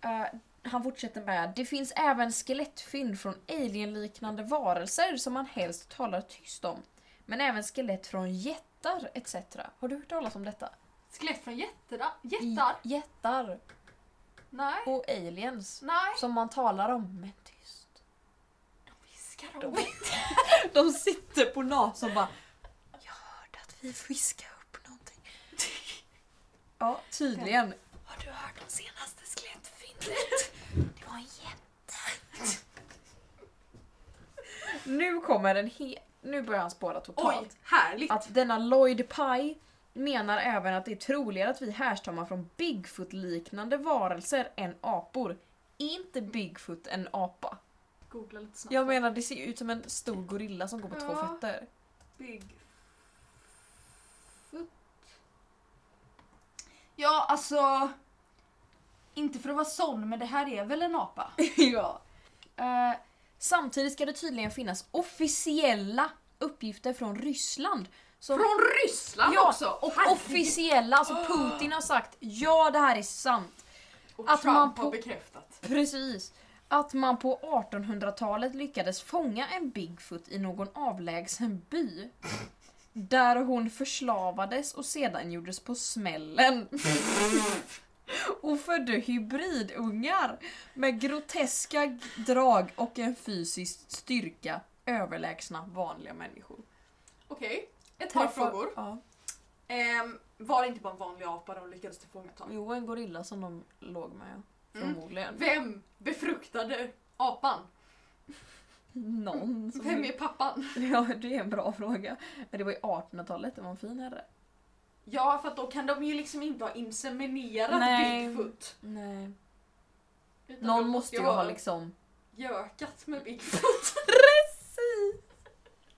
S2: Eh, han fortsätter med det finns även skelettfynd från alienliknande varelser som man helst talar tyst om. Men även skelett från jättar etc. Har du hört talas om detta?
S1: Skelett från jätterna. jättar?
S2: I, jättar
S1: Nej.
S2: och aliens.
S1: Nej.
S2: Som man talar om, men tyst.
S1: De viskar om
S2: De-
S1: det.
S2: De sitter på NAS och bara Jag hörde att vi fiskade upp någonting. Ja, tydligen. Har du hört om senaste skelettfyndet? Det var en jätte. Nu kommer en he- Nu börjar han spåra totalt.
S1: Oj, härligt.
S2: Att denna Lloyd Pye menar även att det är troligare att vi härstammar från Bigfoot-liknande varelser än apor. Är inte Bigfoot en apa?
S1: Googla lite snabbt.
S2: Jag menar, det ser ju ut som en stor gorilla som går på två
S1: Ja.
S2: fötter.
S1: Big foot. Ja, alltså... Inte för att vara sån, men det här är väl en apa?
S2: ja. Eh, samtidigt ska det tydligen finnas officiella uppgifter från Ryssland. Som,
S1: Från Ryssland
S2: Ja,
S1: också! Och
S2: officiella, alltså Putin har sagt ja det här är sant.
S1: Och
S2: att
S1: Trump
S2: man på-
S1: har bekräftat.
S2: Precis. Att man på 1800-talet lyckades fånga en Bigfoot i någon avlägsen by. Där hon förslavades och sedan gjordes på smällen. och födde hybridungar med groteska g- drag och en fysisk styrka överlägsna vanliga människor.
S1: Okej, ett par
S2: Träffar-
S1: frågor.
S2: Ja.
S1: Ehm, var det inte bara en vanlig apa de lyckades tillfångata?
S2: Jo, en gorilla som de låg med. ja.
S1: Mm.
S2: Förmodligen.
S1: Vem befruktade apan?
S2: Någon. som-
S1: Vem är pappan?
S2: Ja, det Mm. är en bra fråga. Men det var ju 1800-talet, det var en fin herre.
S1: Ja, för att då kan de ju liksom inte ha inseminerat
S2: Nej.
S1: Bigfoot.
S2: Nej.
S1: Utan de
S2: Någon måste ju ha
S1: liksom
S2: liksom...
S1: gökat med Bigfoot.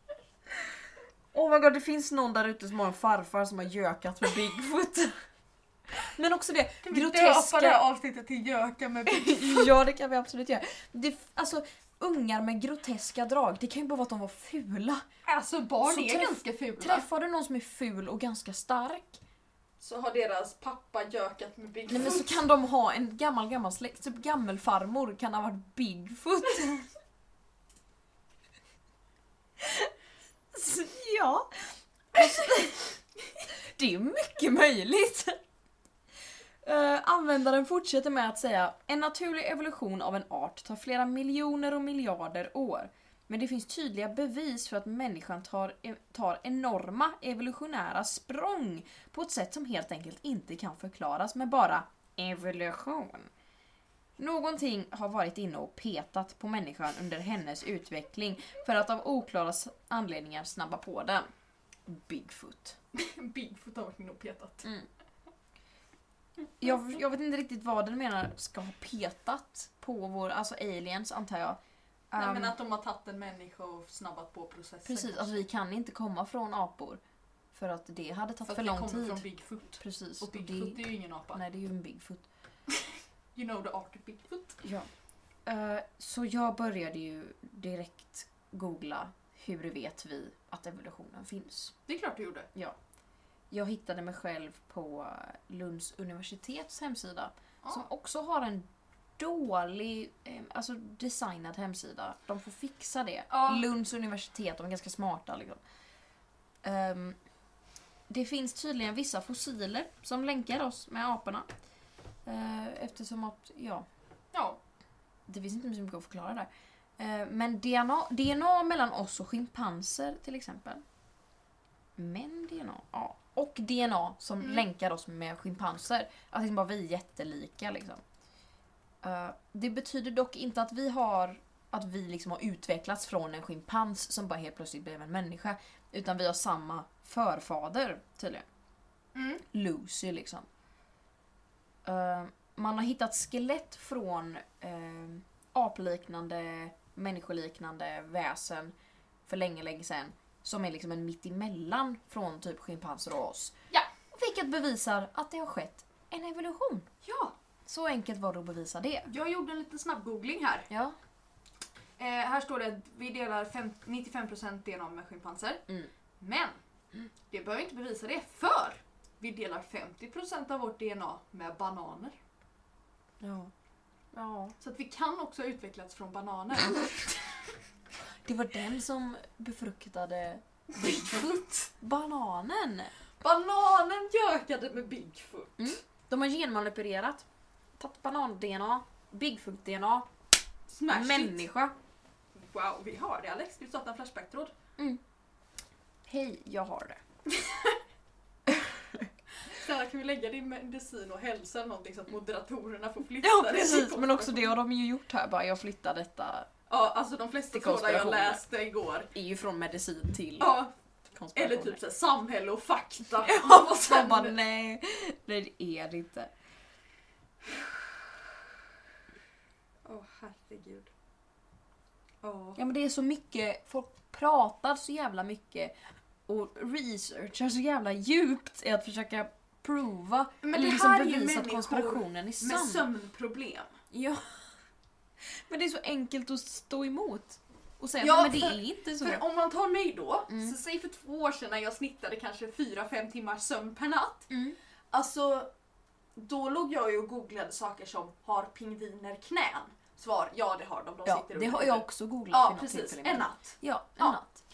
S2: Oh my god, det finns någon där ute som har en farfar som har gökat med Bigfoot. Men också det,
S1: Kan vi döpa det
S2: groteska...
S1: här avsnittet till Göka med Bigfoot?
S2: Ja, det kan vi absolut göra. Det, alltså, ungar med groteska drag. Det kan ju bara vara att de var fula.
S1: Alltså barn
S2: Så
S1: är
S2: träff-
S1: ganska fula.
S2: Träffar du någon som är ful och ganska stark,
S1: Så har deras pappa gökat med Bigfoot.
S2: nej men så kan de ha en gammal gammal släkt, typ gammelfarmor kan ha varit Bigfoot. Så, ja. Alltså, Det är mycket möjligt. Eh, användaren fortsätter med att säga En naturlig evolution av en art tar flera miljoner och miljarder år. Men det finns tydliga bevis för att människan tar, e, tar enorma evolutionära språng på ett sätt som helt enkelt inte kan förklaras med bara evolution. Någonting har varit inne och petat på människan under hennes utveckling för att av oklara s- anledningar snabba på den. Bigfoot.
S1: Bigfoot har varit inne och petat.
S2: Jag, jag vet inte riktigt vad den menar ska ha petat på vår, alltså aliens antar jag.
S1: Nej
S2: Ehm,
S1: men att de har tagit en människa och snabbat på processen.
S2: precis, alltså vi kan inte komma från apor. För att det hade tagit
S1: För
S2: för,
S1: att det
S2: lång
S1: kommer
S2: tid.
S1: från Bigfoot.
S2: Precis.
S1: Och
S2: och det-
S1: Bigfoot är ju ingen apa.
S2: nej, det är ju en Bigfoot.
S1: You know the art of Bigfoot.
S2: Ja. Eh, så jag började ju direkt googla hur vet vi att evolutionen finns.
S1: Det är klart du gjorde.
S2: Jag hittade mig själv på Lunds universitets hemsida
S1: Ja.
S2: som också har en dålig, eh, alltså designad hemsida. De får fixa det.
S1: Ja.
S2: Lunds universitet, de är ganska smarta liksom. Ehm, det finns tydligen vissa fossiler som länkar oss med aporna. Eh, eftersom att, ja,
S1: Ja.
S2: det finns inte så mycket att förklara där. Eh, Men DNA, DNA mellan oss och schimpanser till exempel. Men DNA, ja. Och DNA som
S1: Mm.
S2: länkar oss med schimpanser. Att liksom bara vi är jättelika liksom. Eh, Det betyder dock inte att vi har att vi liksom har utvecklats från en schimpans som bara helt plötsligt blev en människa. Utan vi har samma förfader tydligen.
S1: Mm.
S2: Lucy liksom. Eh, man har hittat skelett från eh, apliknande, människoliknande väsen för länge, länge sedan. Som är liksom en mittemellan från typ schimpanser och oss.
S1: Ja.
S2: Vilket bevisar att det har skett en evolution.
S1: Ja,
S2: Så enkelt var det att bevisa det.
S1: jag gjorde en liten snabb googling här.
S2: Ja.
S1: Eh, här står det att vi delar fem, 95% DNA med schimpanser.
S2: Mm.
S1: Men det behöver inte bevisa det för vi delar 50% av vårt DNA med bananer.
S2: ja. Ja.
S1: Så att vi kan också ha utvecklats från bananer.
S2: Det var den som befruktade Bigfoot. Bananen.
S1: Bananen gökade med Bigfoot.
S2: De har genmanipulerat. Tagit banan-DNA, Bigfoot-DNA,
S1: Smash it.
S2: människa.
S1: Wow, vi har det Alex. Ska du starta en Flashback-tråd?
S2: Hej, jag har det.
S1: Snälla kan vi lägga din medicin och hälsa eller någonting så att moderatorerna får flytta
S2: Ja
S1: det?
S2: precis, men också det har de ju gjort här bara. Jag flyttar detta.
S1: Ja, alltså de flesta
S2: Till
S1: trådar jag
S2: konspirationer.
S1: läste igår.
S2: Är ju från medicin till
S1: Ja,
S2: konspirationer.
S1: eller typ såhär samhälle och fakta.
S2: Ja,
S1: Och
S2: så
S1: sen-
S2: bara nej. Nej det är det inte.
S1: Åh herregud. Ja.
S2: Ja men det är så mycket, folk pratar så jävla mycket och researchar så jävla djupt i att försöka prova
S1: Men
S2: eller
S1: det
S2: liksom
S1: här är ju
S2: bevisa att
S1: människor
S2: konspirationen är
S1: Med
S2: sann.
S1: sömnproblem.
S2: Ja. Men det är så enkelt att stå emot och säga
S1: Ja,
S2: att men
S1: för-
S2: det är inte så.
S1: För om man tar mig då,
S2: Mm.
S1: så säg för två år sedan när jag snittade kanske 4-5 timmars sömn per natt.
S2: Mm.
S1: Alltså, då låg jag ju och googlade saker som har pingviner knän? Svar, ja det har de. de
S2: ja,
S1: sitter
S2: det
S1: under
S2: har
S1: jorden.
S2: jag också googlat vid
S1: Ja
S2: något
S1: precis,
S2: tillfälle.
S1: en natt.
S2: Ja, en
S1: Ja.
S2: natt.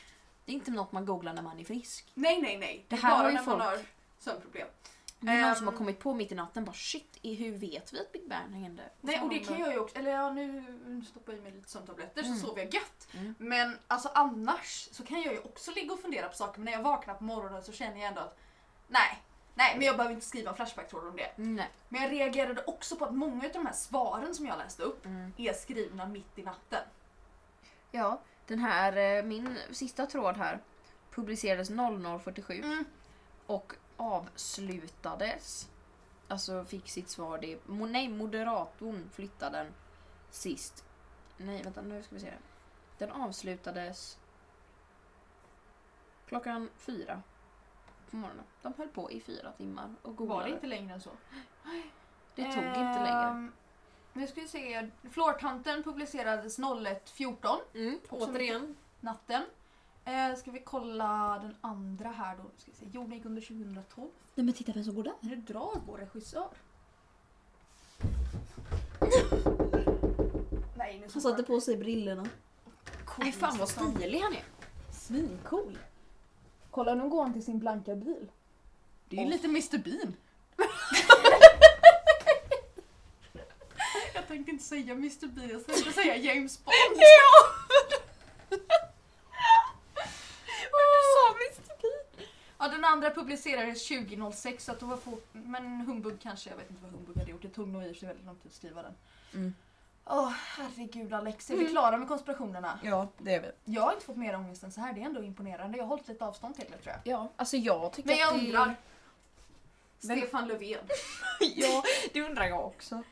S2: Det är inte något man googlar när man är frisk.
S1: Nej nej nej,
S2: Det
S1: är
S2: här
S1: bara
S2: har ju
S1: när man
S2: folk-
S1: har sömnproblem.
S2: Det är någon som
S1: Ehm.
S2: har kommit på mitt i natten bara shit, i- hur vet vi att Big Bang hände?
S1: Nej
S2: så
S1: och det
S2: har de
S1: kan jag ju också, eller ja, nu nu stoppar jag i mig lite sömntabletter
S2: Mm.
S1: så sover jag gött.
S2: Mm.
S1: Men alltså annars så kan jag ju också ligga och fundera på saker men när jag vaknar på morgonen så känner jag ändå att nej, nej men jag behöver inte skriva en flashback-tråd om det.
S2: bara- Nej.
S1: Men jag reagerade också på att många av de här svaren som jag läste upp
S2: Mm.
S1: är skrivna mitt i natten.
S2: Ja, den här, eh, min sista tråd här publicerades 00.47
S1: Mm.
S2: och avslutades. Alltså fick sitt svar, det, mo, nej moderatorn flyttade den sist. Nej vänta nu ska vi se. Den avslutades klockan fyra på morgonen. De höll på i fyra timmar och googlade.
S1: Var det inte längre än så?
S2: Det tog inte längre.
S1: Ehm, Nu ska vi se. Flortanten publicerades 01.14,
S4: Mm, återigen.
S1: natten. Eh, ska vi kolla den andra här då. Ska vi se. Jorden gick under 2012.
S2: Nej men titta vem som går där.
S1: Nu drar vår regissör. Nej, nu
S2: Han satte på sig brillorna.
S4: Nej fan vad stilig han är.
S2: Svincool.
S1: Kolla, nu går han till sin blanka bil. Det är ju lite Mr Bean. jag tänkte inte säga Mr Bean, jag tänkte säga James Bond. Ja, den andra publicerades 2006 så att hon var få, men Humbug kanske, jag vet inte vad Humbug hade gjort. Det tog nog i och för sig väldigt lång tid att skriva den. Åh
S2: Mm.
S1: herregud Alexia, vi är klara med konspirationerna.
S2: Ja, det är vi.
S1: Jag har inte fått mer ångest än så här, det är ändå imponerande. Jag har hållit lite avstånd till det tror jag.
S2: Ja, alltså jag tycker
S1: Men jag
S2: att det...
S1: undrar. Stefan Löfven,
S2: ja, det undrar jag också.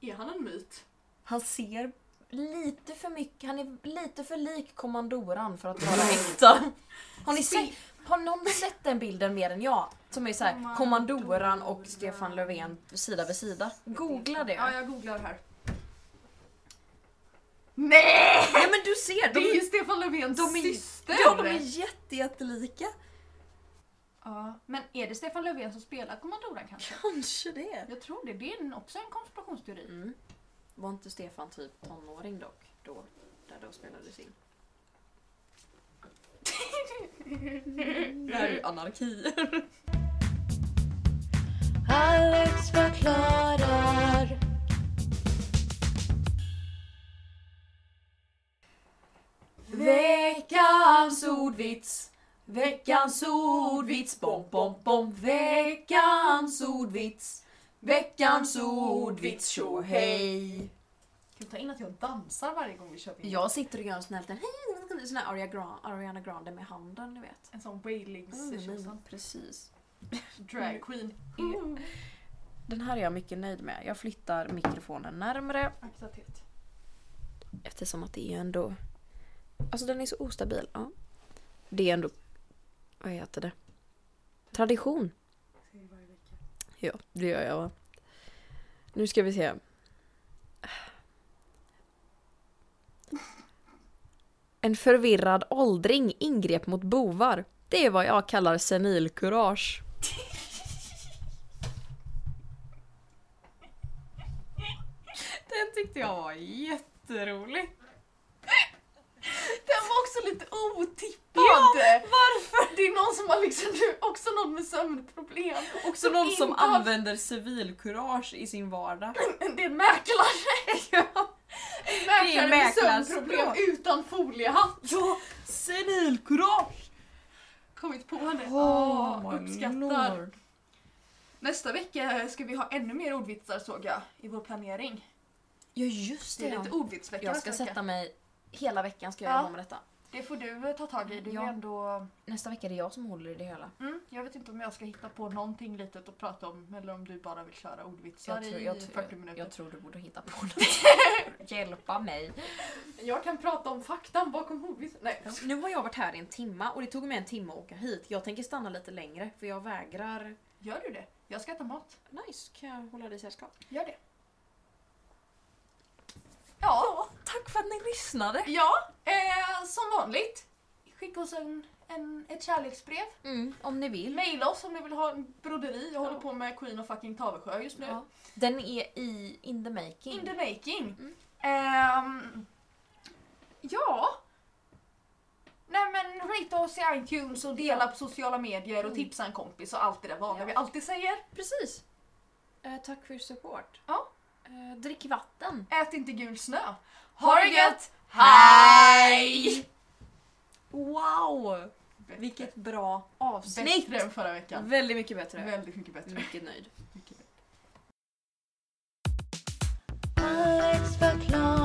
S1: är han en myt?
S2: Han ser lite för mycket, han är lite för lik kommandoran för att vara äkta. Har ni sett, har någon sett den bilden mer än jag? Som är så här, kommandoran och Stefan Löfven sida vid sida. Googla det.
S1: Ja, jag googlar här. Nej!
S2: Nej men du ser!
S1: Det är ju
S2: De,
S1: Stefan Löfvens
S2: de är-
S1: syster!
S2: ja, de är jätte, jättelika.
S1: ja, men är det Stefan Löfven som spelar kommandoran kanske?
S2: Kanske det.
S1: Jag tror det, det är en- också en konspirationsteori.
S2: Mm. Var inte Stefan typ tonåring dock? Då, där då spelades in. det här är ju anarki.
S3: Alex förklarar.
S2: Veckans ordvits. Veckans ordvits. Bom, bom, bom. Veckans ordvits. Veckans ordvits. Tjo hej.
S1: Kan vi ta in att jag dansar varje gång vi kör in?
S2: Jag sitter och gör en sån här liten hej. Sån här Aria Gra- Ariana Grande med handen, ni vet.
S1: En sån wailings
S2: Mm, precis.
S1: drag queen.
S4: Mm.
S2: Den här är jag mycket nöjd med. Jag flyttar mikrofonen närmre
S1: Aktivitet.
S2: eftersom att det är ju ändå... Alltså den är så ostabil. Ja. Det är ändå... Vad heter det? Tradition. Ja, det gör jag va. Nu ska vi se. En förvirrad åldring ingrep mot bovar. Det är vad jag kallar senilkurage.
S4: Den tyckte jag var jätterolig.
S1: Den var också lite otippad! varför? Det är någon som har liksom också någon med sömnproblem.
S4: Också någon
S1: inte
S4: som
S1: har-
S4: använder civilkurage i sin vardag.
S1: Det är en mäklare! En
S4: Det är
S1: mäklare med
S4: mäklarspråk.
S1: sömnproblem utan foliehatt.
S4: Ja, senilkurage!
S1: Kommit på det.
S2: Oh,
S4: Åh,
S1: Ah, uppskattar. Nästa vecka ska vi ha ännu mer ordvitsar såg jag i vår planering.
S2: Ja just
S1: Det är lite ordvitsvecka
S2: Jag
S1: nästa
S2: ska
S1: vecka.
S2: sätta mig... Hela veckan ska jag
S1: Ja.
S2: jobba med detta.
S1: Det får du eh, ta tag i. Du
S2: Ja.
S1: är ändå...
S2: Nästa vecka är det jag som håller i det hela.
S1: Mm, jag vet inte om jag ska hitta på någonting litet att prata om eller om du bara vill köra ordvitsar
S2: Jag tror, jag,
S1: i
S2: tror-
S1: 40 minuter.
S2: jag tror du borde hitta på något. Hjälpa mig.
S1: Jag kan prata om faktan bakom ordvitsar. Nej.
S2: Nu har jag varit här i en timma och det tog mig en timme att åka hit. Jag tänker stanna lite längre för jag vägrar...
S1: Gör du det? Jag ska äta mat.
S2: Nice, kan jag hålla dig sällskap?
S1: Gör det. Ja,
S2: Tack för att ni lyssnade!
S1: ja eh, som vanligt. Skicka oss en, en, ett kärleksbrev.
S2: Mm, om ni vill.
S1: Maila oss om ni vill ha en broderi. Jag håller på med Queen och fucking Tavesjö just nu.
S2: Ja. Den är i in the making.
S1: In the making. Ehm, ja. Nej men rate oss i iTunes och dela på sociala medier och tipsa en kompis och allt det där vanliga
S2: Ja.
S1: vi alltid säger.
S2: Precis! Eh, tack för er support.
S1: Ja.
S2: Eh, drick vatten.
S1: Ät inte gul snö. Ha det gött!
S2: Hej! Wow!
S1: Bättre.
S2: Vilket bra avsnitt!
S1: Bättre än förra veckan.
S2: Väldigt mycket bättre.
S1: Väldigt mycket bättre.
S2: Mycket nöjd.
S3: Alex förklarar.